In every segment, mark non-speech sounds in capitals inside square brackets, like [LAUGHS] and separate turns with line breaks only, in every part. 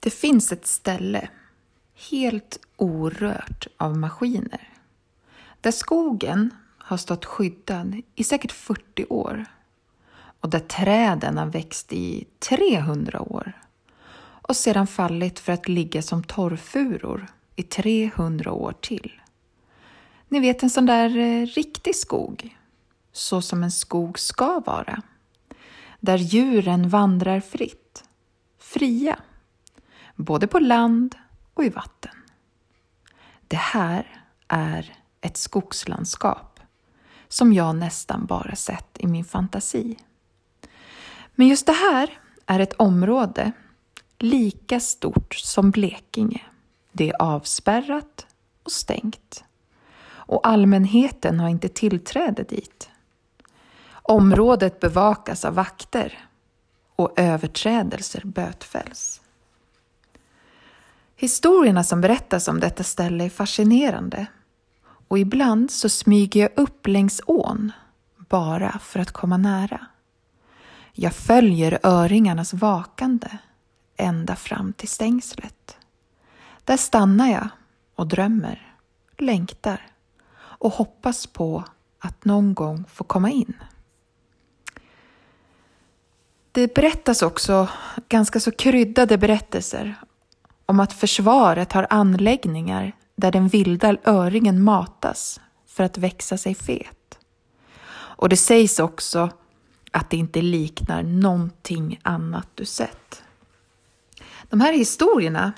Det finns ett ställe, helt orört av maskiner, där skogen har stått skyddad i säkert 40 år och där träden har växt i 300 år och sedan fallit för att ligga som torrfuror i 300 år till. Ni vet en sån där eh, riktig skog, så som en skog ska vara. Där djuren vandrar fritt, fria, både på land och i vatten. Det här är ett skogslandskap som jag nästan bara sett i min fantasi. Men just det här är ett område lika stort som Blekinge. Det är avspärrat och stängt. Och allmänheten har inte tillträde dit. Området bevakas av vakter och överträdelser bötfälls. Historierna som berättas om detta ställe är fascinerande och ibland så smyger jag upp längs ån bara för att komma nära. Jag följer öringarnas vakande ända fram till stängslet. Där stannar jag och drömmer, längtar och hoppas på att någon gång få komma in. Det berättas också ganska så kryddade berättelser om att försvaret har anläggningar där den vilda öringen matas för att växa sig fet. Och det sägs också att det inte liknar någonting annat du sett. De här historierna,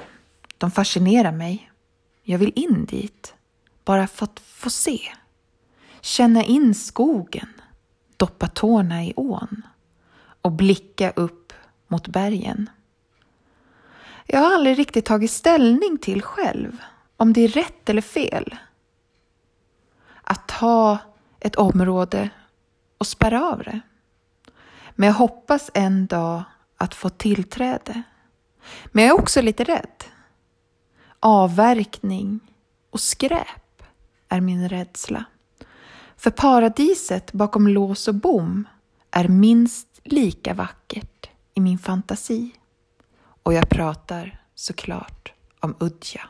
de fascinerar mig. Jag vill in dit, bara för att få se. Känna in skogen, doppa tårna i ån och blicka upp mot bergen. Jag har aldrig riktigt tagit ställning till själv om det är rätt eller fel. Att ha ett område och spärra av det. Men jag hoppas en dag att få tillträde. Men jag är också lite rädd. Avverkning och skräp är min rädsla. För paradiset bakom lås och bom är minst lika vackert i min fantasi. Och jag pratar såklart om Udja.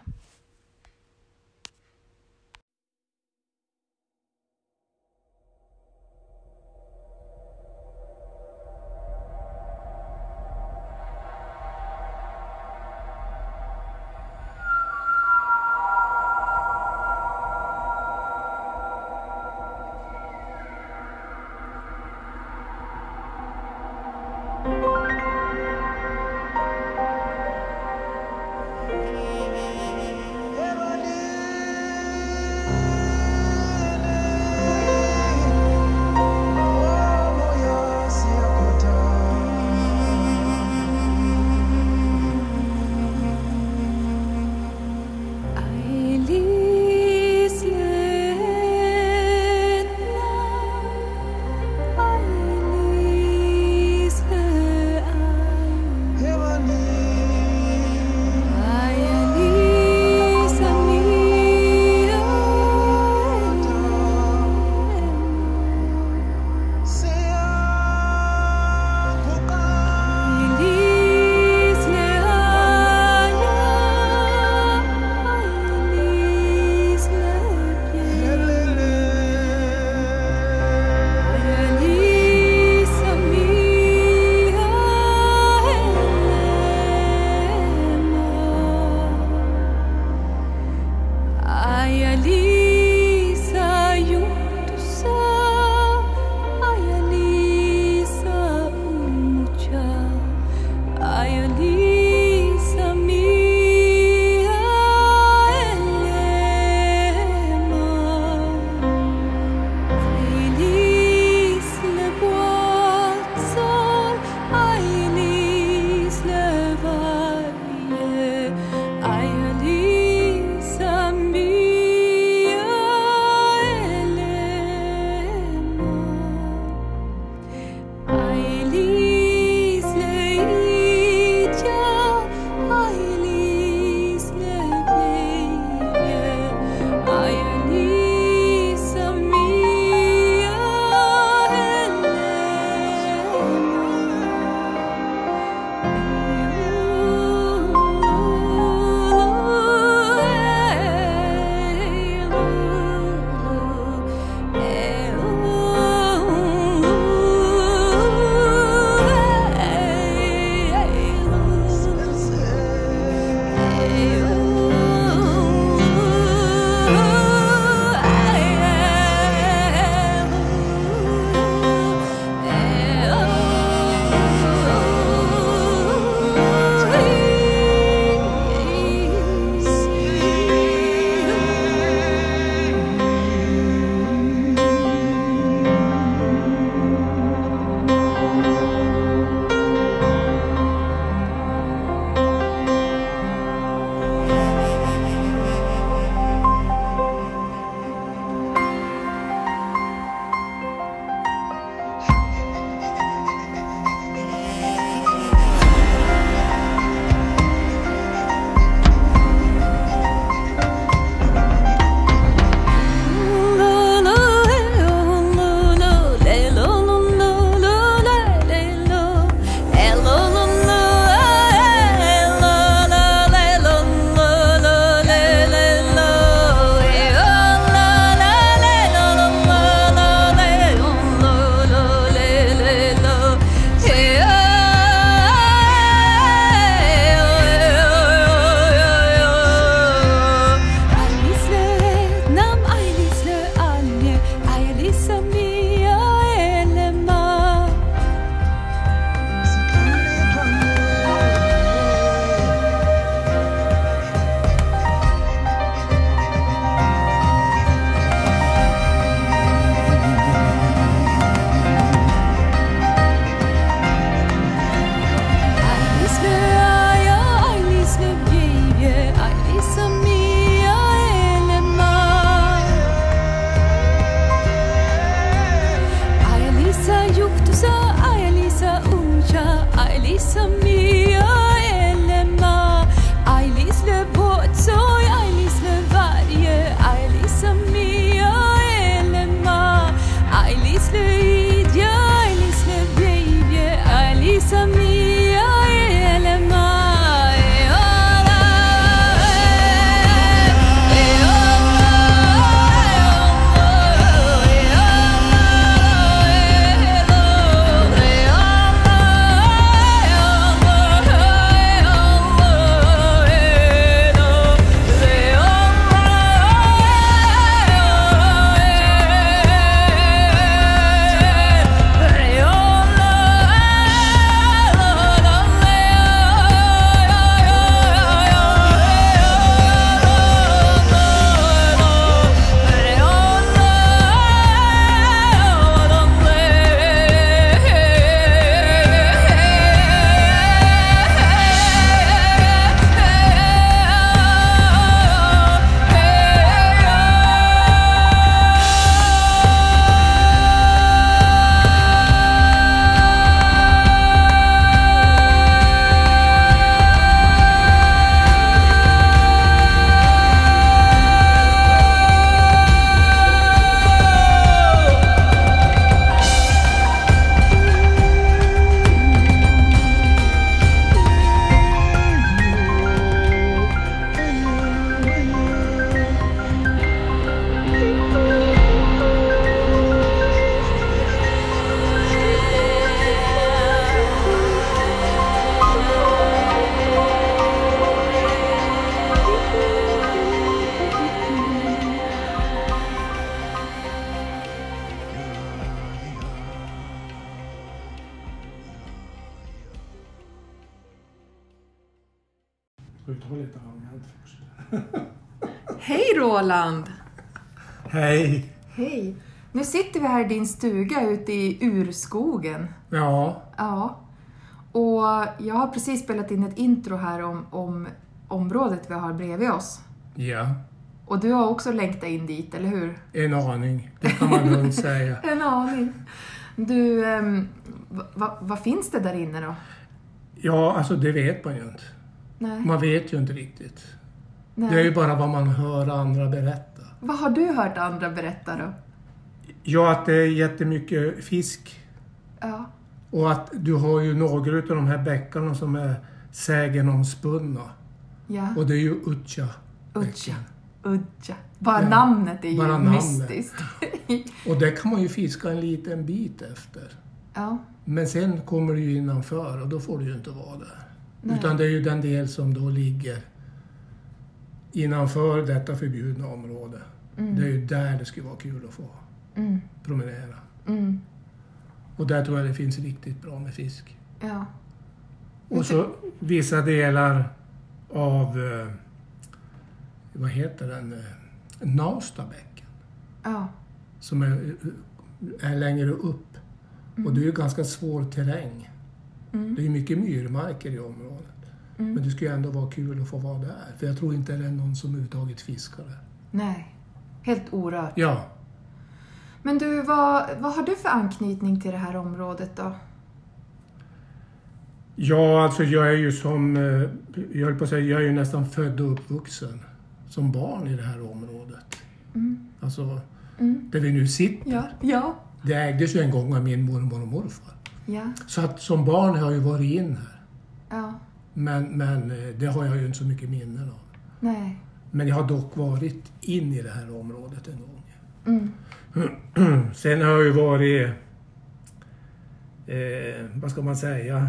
Uthålligt arrogant först.
Hej Roland!
Hej!
Hej! Nu sitter vi här i din stuga ute i urskogen.
Ja,
Ja. Och jag har precis spelat in ett intro här om, om området vi har bredvid oss.
ja,
Och du har också längtat in dit, eller hur?
en aning. Det kan man lugnt [LAUGHS] säga.
En aning. Du, ehm, va- va- vad finns det där inne då?
Ja, alltså det vet man ju inte.
Nej.
Man vet ju inte riktigt.
Nej.
Det är ju bara vad man hör andra berätta.
Vad har du hört andra berätta då?
Ja, att det är jättemycket fisk
Ja.
och att du har ju några av de här bäckarna som är sägenomspunna.
Ja.
Och det är ju Utja.
Udja. Udja. Bara
Ja.
namnet är ju
Bara namnet.
mystiskt. [LAUGHS]
Och det kan man ju fiska en liten bit efter.
ja.
Men sen kommer du ju innanför och då får du ju inte vara där.
Nej.
Utan det är ju den del som då ligger innanför detta förbjudna område. Det är ju där det skulle vara kul att få
Mm.
promenera.
Mm.
Och där tror jag det finns riktigt bra med fisk.
Ja.
Och så vissa delar av, eh, vad heter den, eh, Naustabäcken
Ja.
som är, är längre upp. Och det är ju ganska svår terräng.
Mm.
Det är ju mycket myrmarker i området. Men det skulle ju ändå vara kul att få vara där. För jag tror inte det är någon som överhuvudtaget fiskar där.
Nej. Helt orört.
Ja,
Men du, vad, vad har du för anknytning till det här området då?
Ja, alltså jag är ju som, eh, jag höll på att säga, jag är ju nästan född och uppvuxen som barn i det här området. Alltså, där vi nu sitter.
Ja. Ja.
Det ägdes ju en gång av min mormor och morfar.
Ja.
Så att som barn har jag ju varit in här.
Ja.
Men, men eh, det har jag ju inte så mycket minnen av.
Nej.
Men jag har dock varit in i det här området en gång.
Mm.
[CLEARS THROAT] Sen har jag ju varit, eh, vad ska man säga,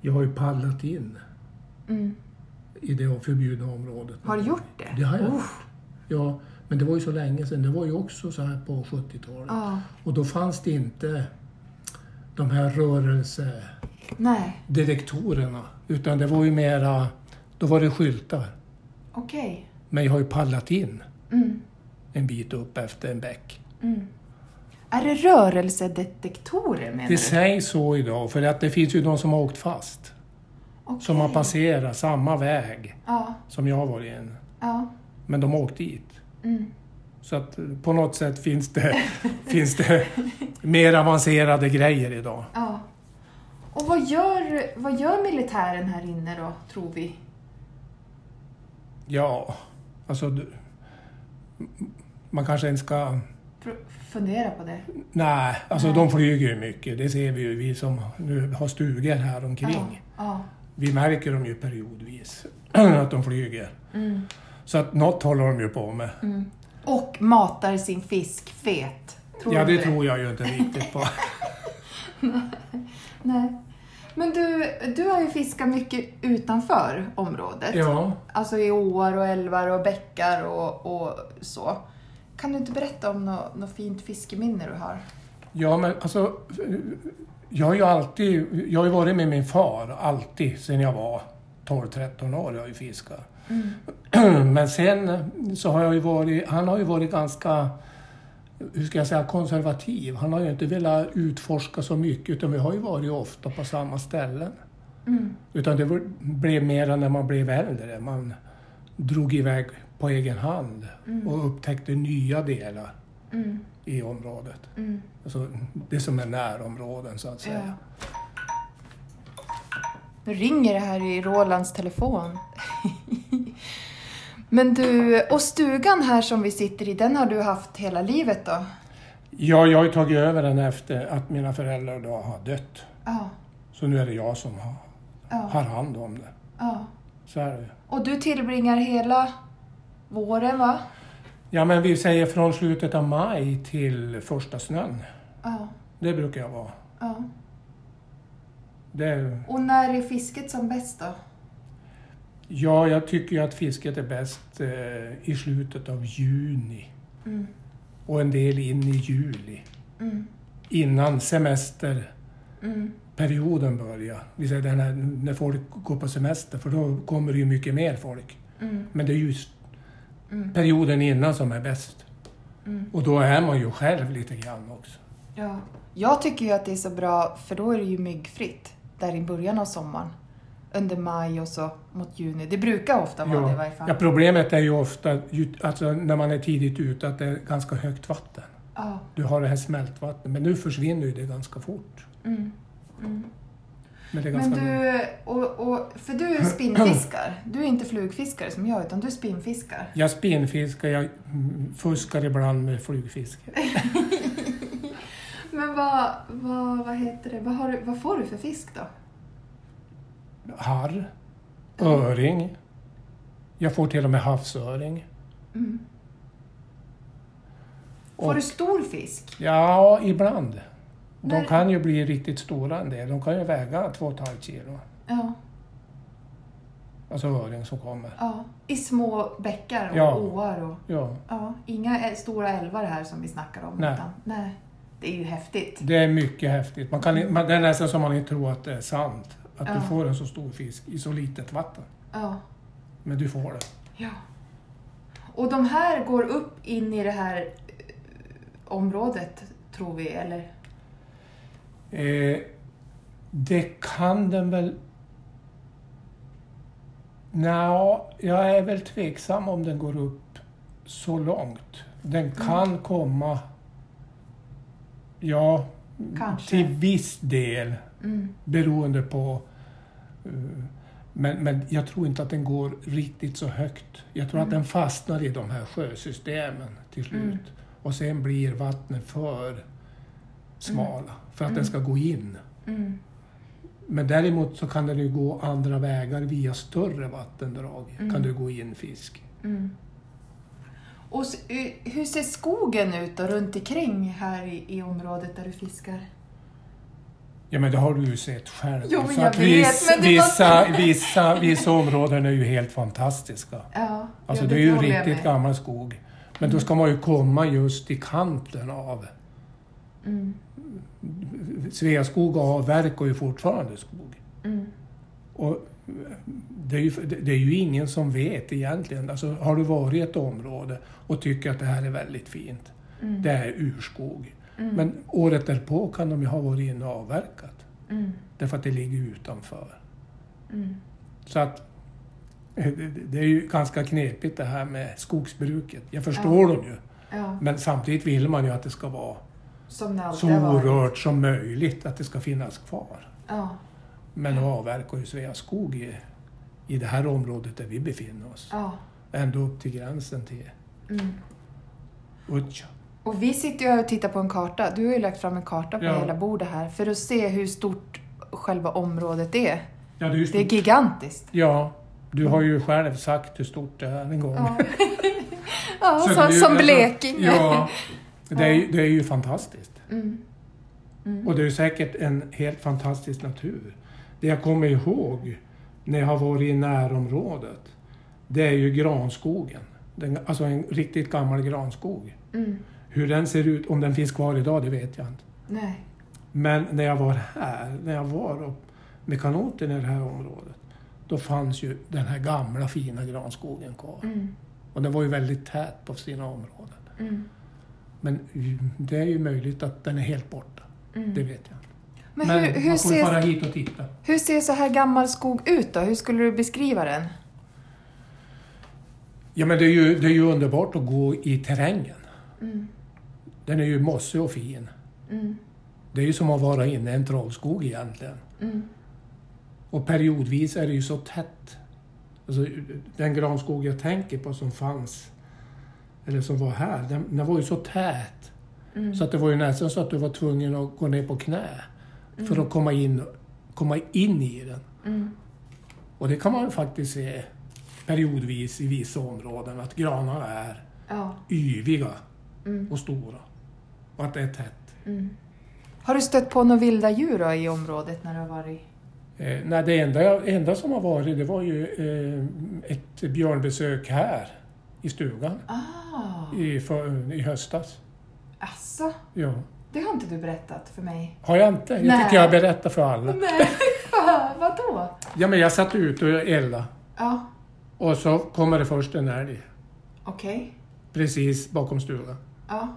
jag har ju paddlat in
Mm.
i det förbjudna området.
Har du gjort det?
Det har jag
Oh.
gjort. Ja, men det var ju så länge sedan. Det var ju också så här på 70-talet.
Ja.
Och då fanns det inte de här rörelsedetektorerna.
Nej.
Utan det var ju mera, då var det skyltar.
Okej.
Men jag har ju paddlat in
Mm.
en bit upp efter en bäck.
Mm. Är det rörelsedetektorer menar
Det
du?
sägs så idag, för att det finns ju de som har åkt fast. Som har
Okej.
passerat samma väg
Ja.
som jag har varit in.
Ja.
Men de har åkt dit.
Mm.
Så att eh, på något sätt finns det, [LAUGHS] finns det mer avancerade grejer idag.
Ja. Och vad gör, vad gör militären här inne då, tror vi?
Ja, alltså... du- Man kanske inte ska...
Pr- Fundera på det.
Nej, alltså
Nej.
de flyger ju mycket. Det ser vi ju, vi som nu har stugor här omkring.
Ja.
Vi märker dem ju periodvis, [CLEARS THROAT] att de flyger.
ja. Mm.
Så att något håller de ju på med.
Mm. Och matar sin fisk fet. Tror
ja,
du
det tror jag ju inte
[LAUGHS]
riktigt på.
Nej. Men du, du har ju fiskat mycket utanför området.
ja.
Alltså i åar och älvar och bäckar och, och så. Kan du inte berätta om något nå fint fiskeminne du har?
Ja, men alltså... Jag har ju alltid... Jag har ju varit med min far, alltid, sedan jag var 12-13 år. Jag har ju fiskat. [CLEARS THROAT] Men sen så har jag ju varit... Han har ju varit ganska... Hur ska jag säga? Konservativ. Han har ju inte velat utforska så mycket, utan vi har ju varit ofta på samma ställen.
Mm.
Utan det var- blev mera när man blev äldre. Man drog iväg på egen hand och upptäckte nya delar
Mm.
i området.
Mm.
Alltså det som är närområden så att
Ja.
säga.
Eh. Nu ringer det här i Rolands telefon. [LAUGHS] Men du, och stugan här som vi sitter i, den har du haft hela livet då?
Ja, jag har ju tagit över den efter att mina föräldrar då har dött.
Ja,
Så nu är det jag som har,
ja,
har hand om det.
ja.
Så är det.
Och du tillbringar hela våren va?
Ja, men vi säger från slutet av maj till första snön.
Ja,
Det brukar jag vara.
ja.
Det är,
Och när är fisket som bäst då?
ja, jag tycker ju att fisket är bäst eh, i slutet av juni
Mm,
och en del in i juli.
mm,
Innan semester
mm,
perioden börjar, vi säger den här, när folk går på semester, för då kommer det ju mycket mer folk.
Mm.
Men det är just perioden innan som är bäst.
Mm.
Och då är man ju själv lite grann också.
Ja. Jag tycker ju att det är så bra, för då är det ju myggfritt där i början av sommaren. Under maj och så mot juni. Det brukar ofta vara det i varje fall.
Ja, problemet är ju ofta, ju- alltså, när man är tidigt ute, att det är ganska högt vatten.
Ja.
Du har det här smältvattnet, men nu försvinner ju det ganska fort.
Mm. Mm.
Men det är
Men
ganska långt.
du, och, och, för du är spinnfiskar. Du är inte flugfiskare som jag, utan du är spinnfiskar.
Jag spinnfiskar, jag mm, fuskar ibland med flugfiske.
Men vad, vad, vad heter det, vad, har du, vad får du för fisk då?
Harr, öring. Jag får till och med havsöring.
Mm. Får
Och-
du stor fisk?
Ja, ibland. De
När-
kan ju bli riktigt stora en del. De kan ju väga 2,5 kilo.
Ja.
Alltså öring som kommer.
ja. I små bäckar och
Ja.
åar och...
Ja,
Ja, inga ä- stora älvar här som vi snackar om.
Nej.
Utan, nej. Det är ju häftigt.
det är mycket häftigt. Man kan, man, det är nästan som man inte tror att det är sant. Att
Ja.
du får en så stor fisk i så litet vatten.
Ja.
Men du får det.
ja. Och de här går upp in i det här eh, området, tror vi, eller?
Eh, det kan den väl... Nja, jag är väl tveksam om den går upp så långt. Den
Mm.
kan komma... Ja,
Kanske.
till viss del
Mm.
beroende på... eh, Men, men jag tror inte att den går riktigt så högt. Jag tror att den fastnar i de här sjösystemen till slut.
Mm.
Och sen blir vattnet för smala för att den ska gå in.
Mm.
Men däremot så kan den ju gå andra vägar via större vattendrag.
Mm.
Kan du gå in fisk.
Mm. Och s- eh, hur ser skogen ut då, runt omkring här i, i området där du fiskar?
Ja men det har du ju sett själv.
Jo, men
så
jag
att
vet,
viss,
men det var-
vissa, vissa, vissa områden är ju helt fantastiska.
Ja,
Alltså
ja,
det är ju
håller jag
riktigt
med.
gammal skog. Men då ska man ju komma just i kanten av...
Mm.
Sveaskog avverkar ju fortfarande skog.
Mm.
Och det är, ju, det är ju ingen som vet egentligen. Alltså, har du varit i ett område och tycker att det här är väldigt fint,
Mm.
det är urskog.
Mm.
Men året därpå kan de ju ha varit inne och avverkat,
Mm.
därför att det ligger utanför.
Mm.
Så att eh, det- det är ju ganska knepigt det här med skogsbruket. Jag förstår dem ju,
Ja,
men samtidigt vill man ju att det ska vara
som det
så
alltid har varit.
orört som möjligt, att det ska finnas kvar.
Ja,
Men
Mm.
nu avverkar ju Sveaskog i, i det här området där vi befinner oss.
ja.
Ända upp till gränsen till
Mm.
Utja.
Och vi sitter ju här och tittar på en karta. Du har ju lagt fram en karta på
Ja.
hela bordet här för att se hur stort själva området är.
Ja, det är ju
Det är
stort.
gigantiskt.
Ja, du har ju själv sagt hur stort det är en gång.
Ja, [LAUGHS] ja
[LAUGHS] Så det är
som,
ju-
som
alltså,
Blekinge. [LAUGHS]
Ja, det är, ju- det är ju fantastiskt.
Mm.
Och det är ju säkert en helt fantastisk natur. Det jag kommer ihåg när jag har varit i närområdet, det är ju granskogen. Den, alltså en riktigt gammal granskog.
Mm.
Hur den ser ut, om den finns kvar idag, det vet jag inte.
Nej.
Men när jag var här, när jag var upp med kanoten i det här området, då fanns ju den här gamla fina granskogen kvar.
Mm.
Och den var ju väldigt tät på sina områden.
Mm.
Men det är ju möjligt att den är helt borta.
Mm.
Det vet jag inte.
Men,
Men
hur, hur,
man får ju fara
ser,
hit och titta.
hur ser så här gammal skog ut då? Hur skulle du beskriva den?
Ja, men det är, ju, det är ju underbart att gå i terrängen.
Mm.
Den är ju mossig och fin.
Mm.
Det är ju som att vara inne i en travskog egentligen.
Mm.
Och periodvis är det ju så tätt. Alltså, den granskog jag tänker på som fanns, eller som var här, den, den var ju så tät.
Mm.
Så att det var ju nästan så att du var tvungen att gå ner på knä för att komma in, komma in i den.
Mm.
Och det kan man ju faktiskt se periodvis i vissa områden, att granarna är
Ja.
yviga
Mm.
och stora. Och att det är tätt.
Mm. Har du stött på några vilda djur då i området när du har varit?
Eh, nej, det enda, jag- enda som har varit, det var ju eh, ett björnbesök här i stugan.
Ah,
i, för, i höstas.
alltså.
Ja.
Det har inte du berättat för mig.
Har jag inte? Jag
Nej.
tycker jag berättar för alla.
Nej, [LAUGHS] vadå?
Ja, men jag satt ute och eldade
Ja,
och så kommer det först en älg
okej.
precis bakom stugan.
Ja,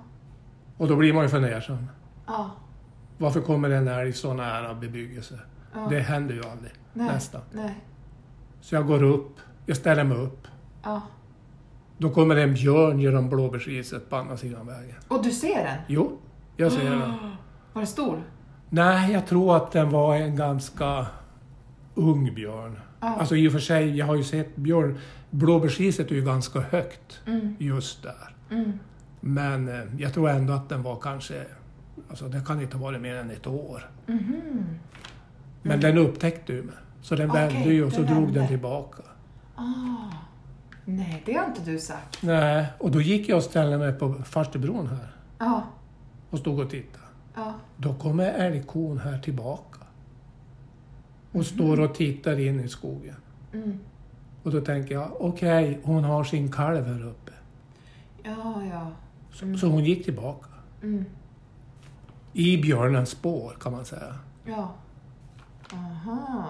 Och då blir man ju fundersam.
ja,
Varför kommer en älg så nära bebyggelse?
Ja.
Det händer ju aldrig,
Nej.
nästan.
nej,
Så jag går upp, jag ställer mig upp.
ja.
Då kommer en björn genom blåbärsriset på andra sidan vägen.
Och du ser den?
Jo, jag ser den.
Var den stor?
Nej, jag tror att den var en ganska ung björn. Alltså i och för sig, jag har ju sett björn. Blåbärsriset är ju ganska högt
Mm.
just där. Men eh, jag tror ändå att den var kanske, alltså det kan inte ha varit mer än ett år. Men den upptäckte ju mig. Så den
Mhm. Mm. Okej,
vände ju och så
den
drog
vände.
den tillbaka.
Ah. Nej, det har inte du sagt.
Nej, och då gick jag och ställde mig på farstubron här
Ja,
och stod och tittade.
ja.
Då kommer älgkon här tillbaka. Och står och tittar in i skogen.
Mm.
Och då tänker jag, okej, hon har sin kalv här uppe.
Ja, ja.
Så, så hon gick tillbaka.
Mm.
I björnens spår kan man säga.
Ja. Aha.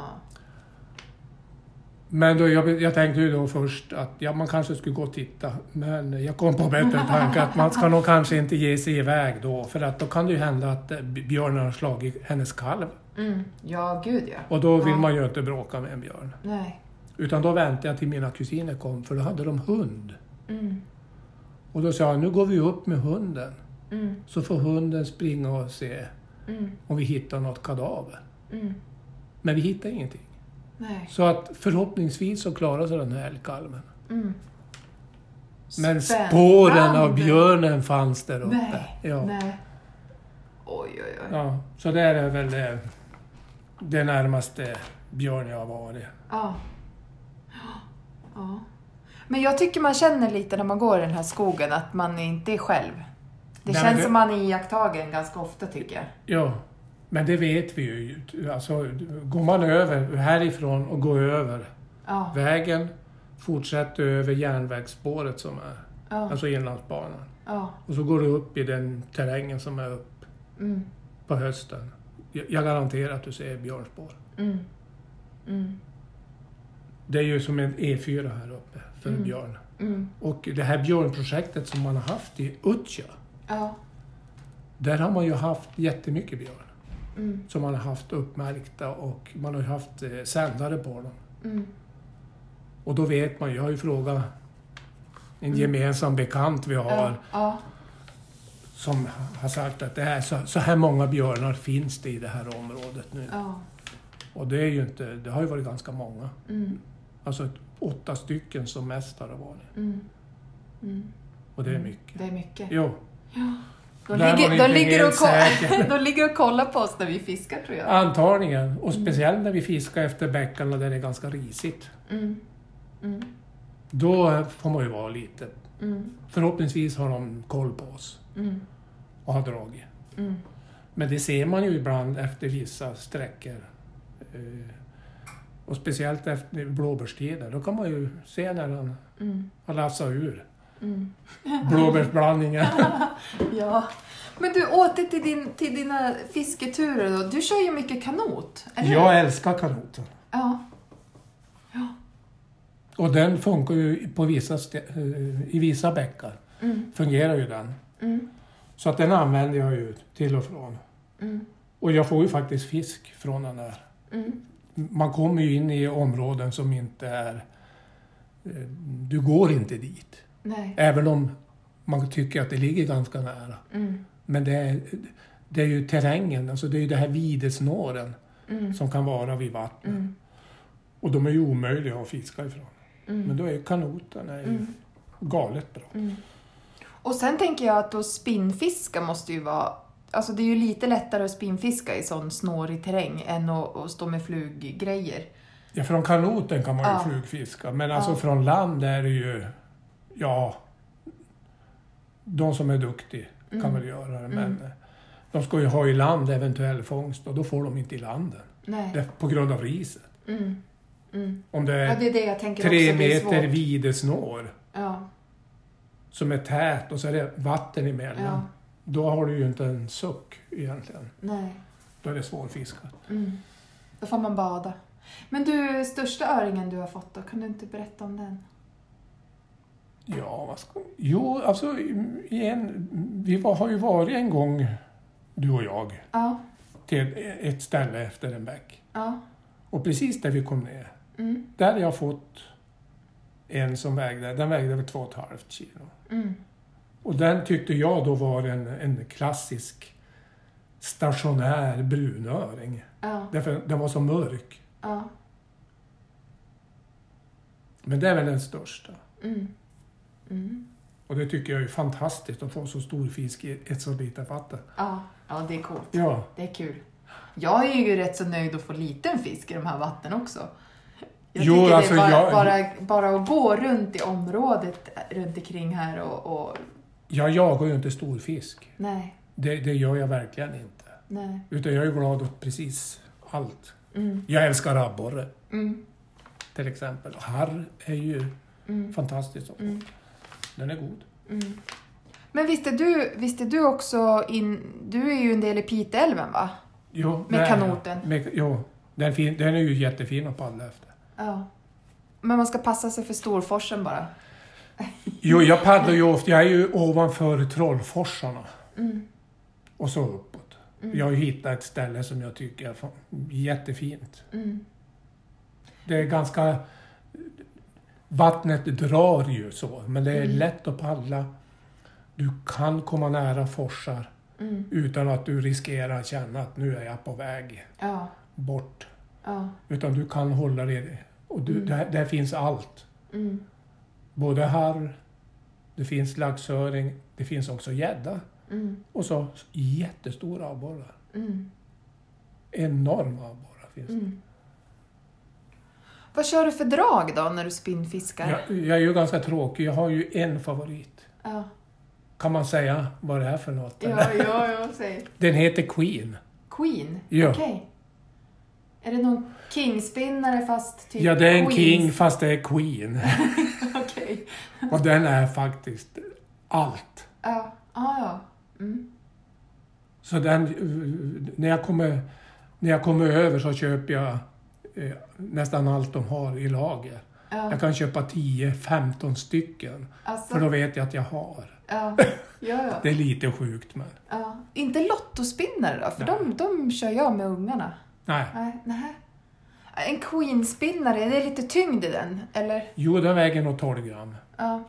Men då, jag, jag tänkte ju då först att ja, man kanske skulle gå och titta. Men jag kom på bättre tanke att man ska nog kanske inte ge sig iväg då. För att då kan det ju hända att eh, björnen har slagit hennes kalv.
Mm. Ja, gud ja.
Och då vill man ju inte bråka med en björn.
Nej.
Utan då väntade jag till mina kusiner kom, för då hade de hund.
Mm.
Och då sa jag, nu går vi upp med hunden.
Mm.
Så får hunden springa och se
Mm.
om vi hittar något kadaver.
Mm.
Men vi hittade ingenting.
Nej.
Så att förhoppningsvis så klarar sig den här älgkalven.
Mm. Spännande.
Men spåren av björnen fanns där uppe.
Nej.
Ja.
Nej. Oj, oj, oj.
Ja. Så där är väl det, det närmaste björn jag har varit.
Ja. ja. Men jag tycker man känner lite när man går i den här skogen att man inte är själv. Det
Nej, men
känns
det-
som man är iakttagen ganska ofta tycker jag.
Ja, men det vet vi ju. Alltså, går man över härifrån och går över
Ja,
vägen, fortsätter över järnvägsspåret som är,
ja,
alltså Inlandsbanan.
ja.
Och så går du upp i den terrängen som är upp
Mm,
på hösten. Jag jag garanterar att du ser björnspår.
mm, mm,
Det är ju som en E4 här uppe för björn.
mm.
Och det här björnprojektet som man har haft i Utja,
Ja,
där har man ju haft jättemycket björn
mm,
som man har haft uppmärkta och man har ju haft eh, sändare på dem.
mm,
Och då vet man ju, jag har ju frågat en gemensam bekant vi har
Mm. ja, ja,
som har sagt att det är så, så här många björnar finns det i det här området nu.
ja,
Och det är ju inte, det har ju varit ganska många.
mm,
Alltså ett- åtta stycken som mest har det varit.
mm, mm.
Och det är mycket.
Det är mycket.
Jo,
De
Där var
ligger,
ni
de,
inte
ligger och
helt
ko- [LAUGHS]
säkra.
de ligger och kollar på oss när vi fiskar tror jag.
antagligen. Och speciellt när vi fiskar efter bäckarna där det är ganska risigt.
Mm, mm,
Då får man ju vara lite...
mm,
Förhoppningsvis har de koll på oss
mm,
och har dragit.
mm.
Men det ser man ju ibland efter vissa sträckor. Eh, Och speciellt efter blåbärstider. Då kan man ju se när den
mm.
har lassat ur [LAUGHS] blåbärsblandningen.
Ja, men du åter till, din, till dina fisketurer då. Du kör ju mycket kanot, eller hur?
[LAUGHS] Jag älskar kanoten.
Ja.
Och den funkar ju på vissa stä- eh, i vissa bäckar.
Mm.
Fungerar ju den.
Mm.
Så att den använder jag ju till och från.
Mm.
Och jag får ju faktiskt fisk från den där.
Mm.
Man kommer ju in i områden som inte är... eh, Du går inte dit.
Nej.
Även om man tycker att det ligger ganska nära.
Mm.
Men det är, det är ju terrängen, alltså det är ju det här videsnåren
Mm.
som kan vara vid vattnet.
Mm.
Och de är ju omöjliga att fiska ifrån.
Mm.
Men då är ju kanoten är ju
Mm.
galet bra.
Och sen tänker jag att då spinnfiska måste ju vara... Alltså det är ju lite lättare att spinnfiska i sån snårig terräng än att, att stå med fluggrejer.
Ja, från kanoten kan man ju
Ja.
flugfiska, men alltså från land är det ju, ja, de som är duktiga
Mm.
kan väl göra det, men de ska ju ha i land eventuell fångst och då får de inte i landen. Det
Nej.
är på grund av riset.
Mm. Mm.
Om det är
Ja, det är det jag tänker
Eh, tre
också. Det är
meter
svårt.
videsnår
Ja.
som är tät och så är det vatten emellan.
Ja.
Då har du ju inte en suck egentligen.
Nej.
Då är det svårfiskat.
Mm. Då får man bada. Men du, största öringen du har fått då, kan du inte berätta om den?
Ja, vad ska... Jo, alltså i en... vi var, har ju varit en gång, du och jag,
Ja,
till ett ställe efter en bäck.
ja.
Och precis där vi kom ner,
Mm,
där har jag fått en som vägde, den vägde väl två och ett halvt kilo.
mm,
Och den tyckte jag då var en, en klassisk stationär brunöring.
ja,
Därför den var så mörk.
ja,
Men det är väl den största.
mm, mm,
Och det tycker jag är fantastiskt att få så stor fisk i ett så litet vatten.
ja. Ja, det är coolt.
Ja,
Det är kul. Jag är ju rätt så nöjd att få liten fisk i de här vattnen också. Jag
Jo,
tycker
alltså,
det är bara,
jag-
bara, bara att gå runt i området runt omkring här och, och
jag jagar ju inte stor fisk.
nej,
Det, det gör jag verkligen inte.
nej.
Utan jag är glad åt precis allt.
Mm,
Jag älskar abborre
mm,
till exempel. Harr är ju
mm,
fantastisk.
mm,
Den är god.
mm. Men visste du, visste du också in, du är ju en del i Piteälven va?
Jo,
Med
nej.
kanoten.
Med, jo, den, fin, den är ju jättefin att paddla efter.
Ja. Men man ska passa sig för Storforsen bara.
Jo, jag paddlar ju ofta. Jag är ju ovanför Trollforsarna
Mm,
och så uppåt.
Mm.
Jag har ju hittat ett ställe som jag tycker är fan- jättefint.
mm,
Det är ganska... Vattnet drar ju så, men det är
Mm.
lätt att paddla. Du kan komma nära forsar
mm.
utan att du riskerar att känna att nu är jag på väg
Ja,
bort.
ja,
Utan du kan hålla dig... Och du, där, där finns allt.
mm,
Både harr, det finns laxöring, det finns också gädda.
mm,
Och så jättestora abborrar.
mm,
Enorma abborrar finns det.
mm. Vad kör du för drag då när du spinnfiskar?
Jag, jag är ju ganska tråkig. Jag har ju en favorit.
Ja,
Kan man säga vad det är för något?
ja, ja, ja säg.
Den heter Queen.
Queen?
Ja.
Okej. Är det någon kingspinnare fast typ
Ja, det är en
Queens?
king fast det är Queen. [LAUGHS]
[LAUGHS] Okej.
Och den är faktiskt allt.
Ja, ja, ja. Mm.
Så den, eh, när, jag kommer, när jag kommer över så köper jag eh, nästan allt de har i lager.
Ja,
Jag kan köpa 10-15 stycken. För
alltså,
då vet jag att jag har.
ja, ja, ja.
Det är lite sjukt men.
ja. Inte lottospinnare då? För
Nej.
de, de kör jag med ungarna.
Nej.
Nej, nej. En queenspinnare, det är lite tyngd i den, eller?
Jo, den väger nog 12 gram.
Ja.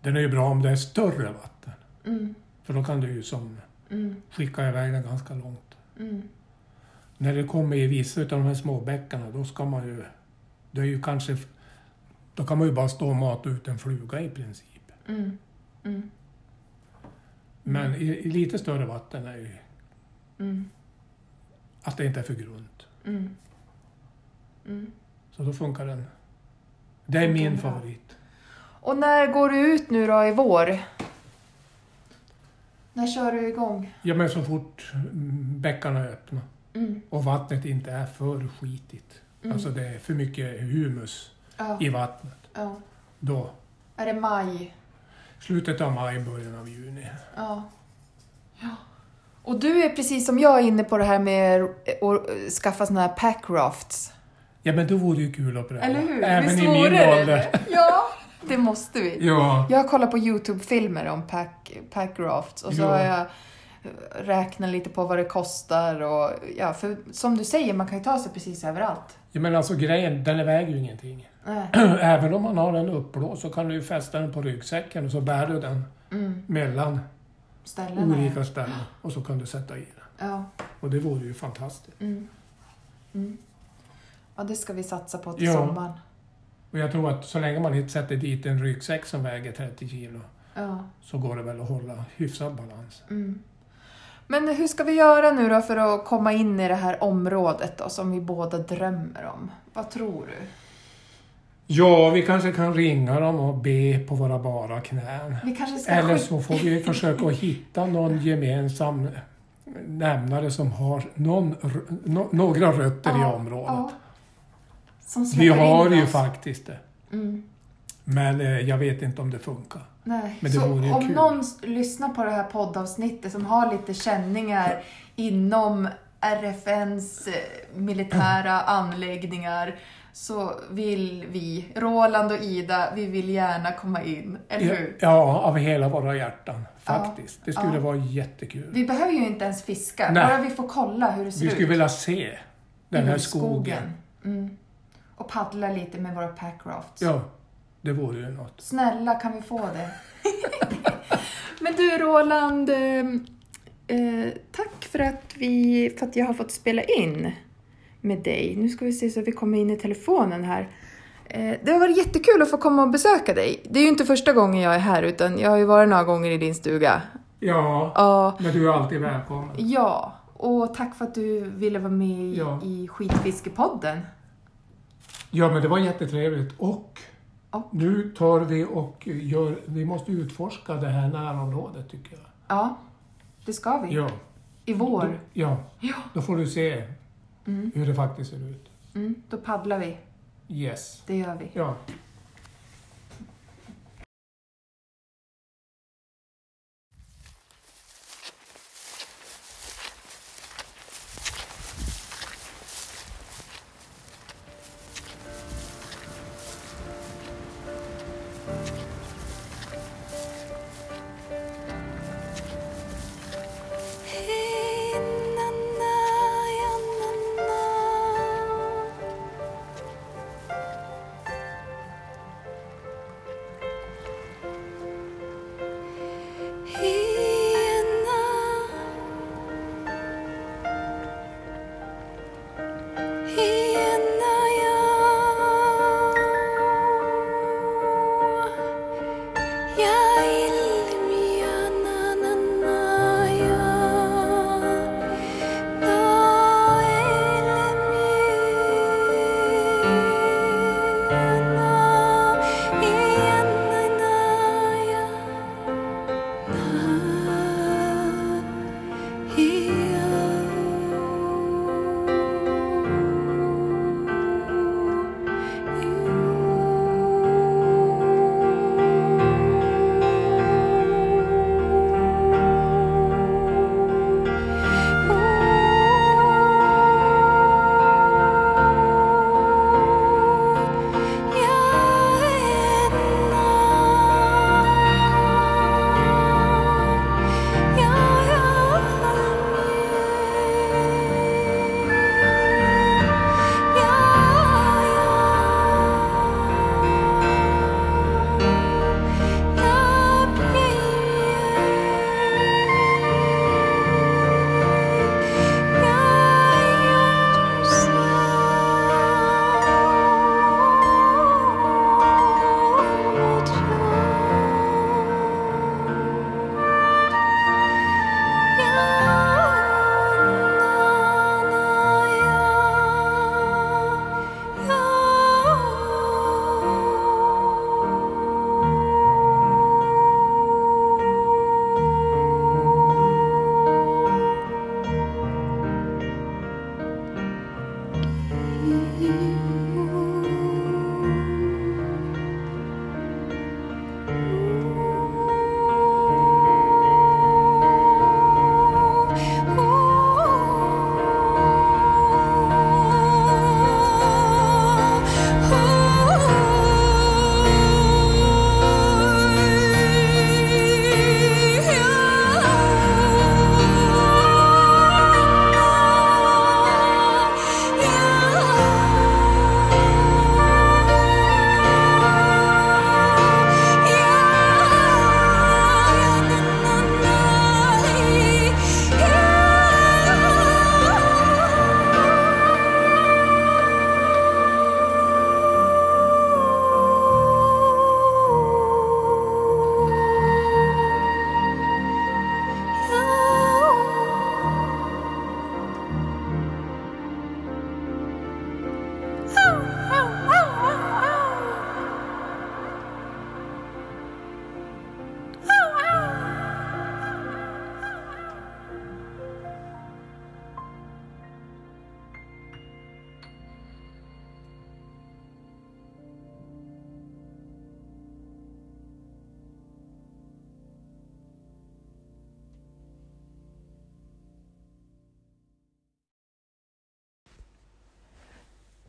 Den är ju bra om det är större vatten.
Mm,
För då kan du ju som
mm,
skicka iväg den ganska långt.
mm.
När det kommer i vissa av de här småbäckarna, då ska man ju... Det är ju kanske... Då kan man ju bara stå och mata ut en fluga i princip.
Mm. Mm.
Men i, i lite större vatten är ju
Mm.
att det inte är för grunt.
Mm. Mm.
Så då funkar den. Det är min
bra.
favorit.
Och när går du ut nu då i vår? När kör du igång?
Ja, men så fort mm, bäckarna är öppna
Mm.
och vattnet inte är för skitigt.
Mm.
Alltså det är för mycket humus
Ja,
i vattnet.
ja.
Då
Är det maj?
Slutet av maj, början av juni.
Ja. ja. Och du är precis som jag inne på det här med att eh, skaffa såna här packrafts.
Ja, men då vore det ju kul att pröva.
Eller hur?
Även
Visst
i
vore
min
det
ålder.
det? Ja, det måste vi.
Ja.
Jag kollar på YouTube-filmer om pack, pack rafts och så
Ja.
har jag eh, räknat lite på vad det kostar och ja, för som du säger, man kan ju ta sig precis överallt. Eh,
ja, men alltså grejen, den väger ju ingenting. [CLEARS THROAT]
Nej.
Även om man har den uppblåst så kan du ju fästa den på ryggsäcken och så bär du den
Mm,
mellan
ställena.
olika ställen och så kan du sätta i den.
Ja,
Och det vore ju fantastiskt.
mm. Mm. ja, det ska vi satsa på till
Ja.
sommaren.
Och jag tror att så länge man inte sätter dit en ryggsäck som väger 30 kilo
Ja,
så går det väl att hålla hyfsad balans.
mm. Men hur ska vi göra nu då för att komma in i det här området då, som vi båda drömmer om? Vad tror du?
Ja, vi kanske kan ringa dem och be på våra bara knän.
Vi kanske ska
Eller
skicka-
så får vi försöka att hitta någon gemensam nämnare som har någon, r- nå- några rötter i
Ja,
området.
ja. Som
Vi
släpper in
har ju
oss.
faktiskt det.
Mm.
Men eh, jag vet inte om det funkar.
Nej.
Men det
så
vore ju
om
kul.
någon s- lyssnar på det här poddavsnittet som har lite känningar inom RFNs eh,
[CLEARS THROAT]
militära anläggningar så vill vi, Roland och Ida, vi vill gärna komma in, eller
Ja,
hur?
Ja, av hela våra hjärtan faktiskt. Det skulle
Ja.
vara jättekul.
Vi behöver ju inte ens fiska,
Nej.
bara vi får kolla hur det ser
Vi skulle
ut
vilja se den här skogen.
Mm. Och paddla lite med våra packrafts.
Ja, det vore ju något.
Snälla, kan vi få det? [LAUGHS] Men du Roland, eh, eh, tack för att, vi, för att jag har fått spela in med dig. Nu ska vi se så att vi kommer in i telefonen här. Eh, det har varit jättekul att få komma och besöka dig. Det är ju inte första gången jag är här utan jag har ju varit några gånger i din stuga.
Ja,
Ja,
men du är alltid välkommen.
ja. och tack för att du ville vara med i-
Ja.
i Skitfiskepodden.
Ja, men det var jättetrevligt. Och
Och?
nu tar vi och gör... Vi måste utforska det här närområdet tycker jag.
Ja, det ska vi.
Ja,
I vår.
ja.
Ja.
då får du se hur det faktiskt ser ut.
Mm, då paddlar vi.
Yes.
Det gör vi.
Ja.
Innan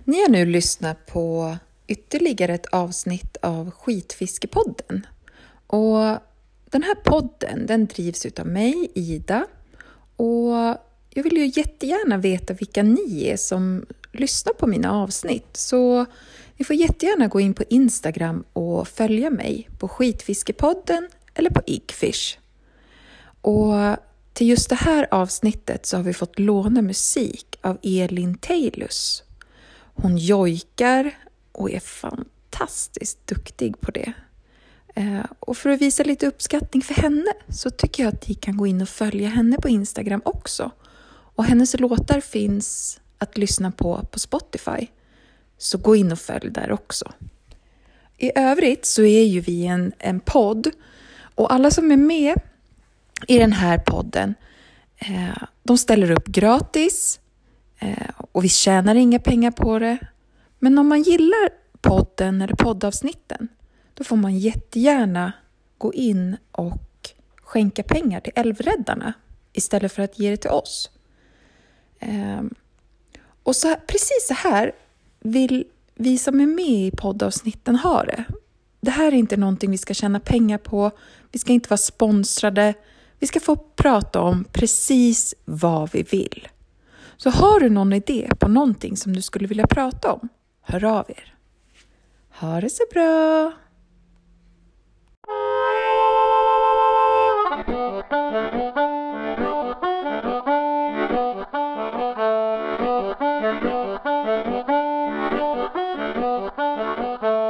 Ni har nu lyssnat på ytterligare ett avsnitt av Skitfiskepodden. Och den här podden den drivs utav mig, Ida. Och jag vill ju jättegärna veta vilka ni är som lyssnar på mina avsnitt. Så ni får jättegärna gå in på Instagram och följa mig på Skitfiskepodden eller på Igfish. Och till just det här avsnittet så har vi fått låna musik av Elin Teilus. Hon jojkar och är fantastiskt duktig på det. Eh, Och för att visa lite uppskattning för henne så tycker jag att ni kan gå in och följa henne på Instagram också. Och hennes låtar finns att lyssna på på Spotify. Så gå in och följ där också. I övrigt så är ju vi en, en podd och alla som är med i den här podden, eh, de ställer upp gratis eh, och vi tjänar inga pengar på det. Men om man gillar podden eller poddavsnitten, då får man jättegärna gå in och skänka pengar till Älvräddarna istället för att ge det till oss. Ehm, och så, precis så här vill vi som är med i poddavsnitten ha det. Det här är inte någonting vi ska tjäna pengar på. Vi ska inte vara sponsrade. Vi ska få prata om precis vad vi vill. Så har du någon idé på någonting som du skulle vilja prata om, hör av er. Ha det så bra!
Thank you.